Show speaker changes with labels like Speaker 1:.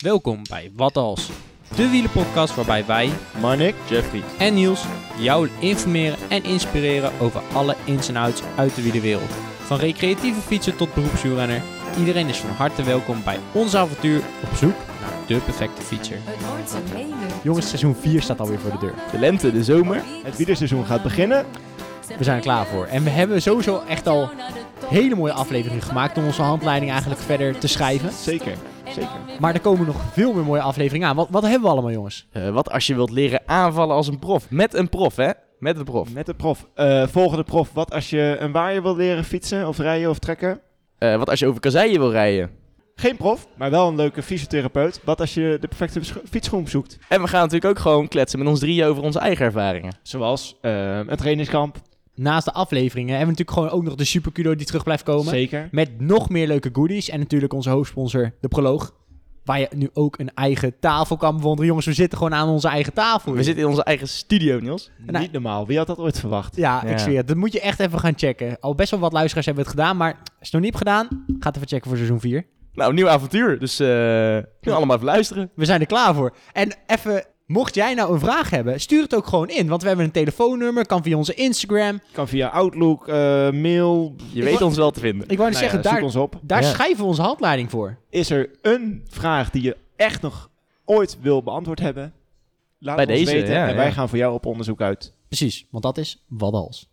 Speaker 1: Welkom bij Wat Als, de wielenpodcast waarbij wij
Speaker 2: Marnik, Jeffrey.
Speaker 1: en Niels jou informeren en inspireren over alle ins en outs uit de wielerwereld. Van recreatieve fietsen tot beroepswielrenner, iedereen is van harte welkom bij ons avontuur op zoek naar de perfecte fietser.
Speaker 3: Het wordt ze menen.
Speaker 4: Jongens, seizoen 4 staat alweer voor de deur.
Speaker 2: De lente, de zomer.
Speaker 3: Het
Speaker 2: Het wielerseizoen gaat beginnen.
Speaker 4: We zijn er klaar voor. En we hebben sowieso echt al hele mooie afleveringen gemaakt om onze handleiding eigenlijk verder te schrijven.
Speaker 2: Zeker, zeker.
Speaker 4: Maar er komen nog veel meer mooie afleveringen aan. Wat, wat hebben we allemaal, jongens?
Speaker 5: Eh, wat als je wilt leren aanvallen als een prof? Met een prof, hè? Met een prof.
Speaker 2: Met de prof. Eh, volgende prof, wat als je een waaier wil leren fietsen of rijden of trekken?
Speaker 5: Eh, wat als je over kasseien wil rijden?
Speaker 2: Geen prof, maar wel een leuke fysiotherapeut. Wat als je de perfecte scho- fietsschoen zoekt?
Speaker 5: En we gaan natuurlijk ook gewoon kletsen met ons drieën over onze eigen ervaringen.
Speaker 2: Zoals eh, een trainingskamp.
Speaker 4: Naast de afleveringen hebben we natuurlijk gewoon ook nog de superkudo die terug blijft komen.
Speaker 2: Zeker.
Speaker 4: Met nog meer leuke goodies. En natuurlijk onze hoofdsponsor, de Proloog. Waar je nu ook een eigen tafel kan bewonderen. Jongens, we zitten gewoon aan onze eigen tafel.
Speaker 5: We zitten in onze eigen studio, Niels.
Speaker 4: Nou-
Speaker 2: Niet normaal. Wie had dat ooit verwacht?
Speaker 4: Ja,
Speaker 5: Ja.
Speaker 4: ik zweer het. Dat moet je echt even gaan checken. Al best wel wat luisteraars hebben het gedaan, maar als je het nog niet hebt gedaan, ga het even checken voor seizoen 4.
Speaker 5: Nou, nieuw avontuur. Dus eh kunnen allemaal even luisteren.
Speaker 4: We zijn er klaar voor. En even, mocht jij nou een vraag hebben, stuur het ook gewoon in. Want we hebben een telefoonnummer, kan via onze Instagram.
Speaker 2: Kan via Outlook, eh, mail.
Speaker 5: Je weet
Speaker 4: wou-
Speaker 5: ons wel te vinden.
Speaker 4: Ik wou
Speaker 2: Nou
Speaker 4: net
Speaker 2: ja,
Speaker 4: zeggen,
Speaker 2: zoek
Speaker 4: daar,
Speaker 2: ons op.
Speaker 4: daar
Speaker 5: Ja.
Speaker 4: schrijven we onze handleiding voor.
Speaker 2: Is er een vraag die je echt nog ooit wil beantwoord hebben? Laat
Speaker 5: Bij
Speaker 2: het ons
Speaker 5: deze,
Speaker 2: weten
Speaker 5: ja,
Speaker 2: en wij
Speaker 5: ja.
Speaker 2: gaan voor jou op onderzoek uit.
Speaker 4: Precies, want dat is wat als.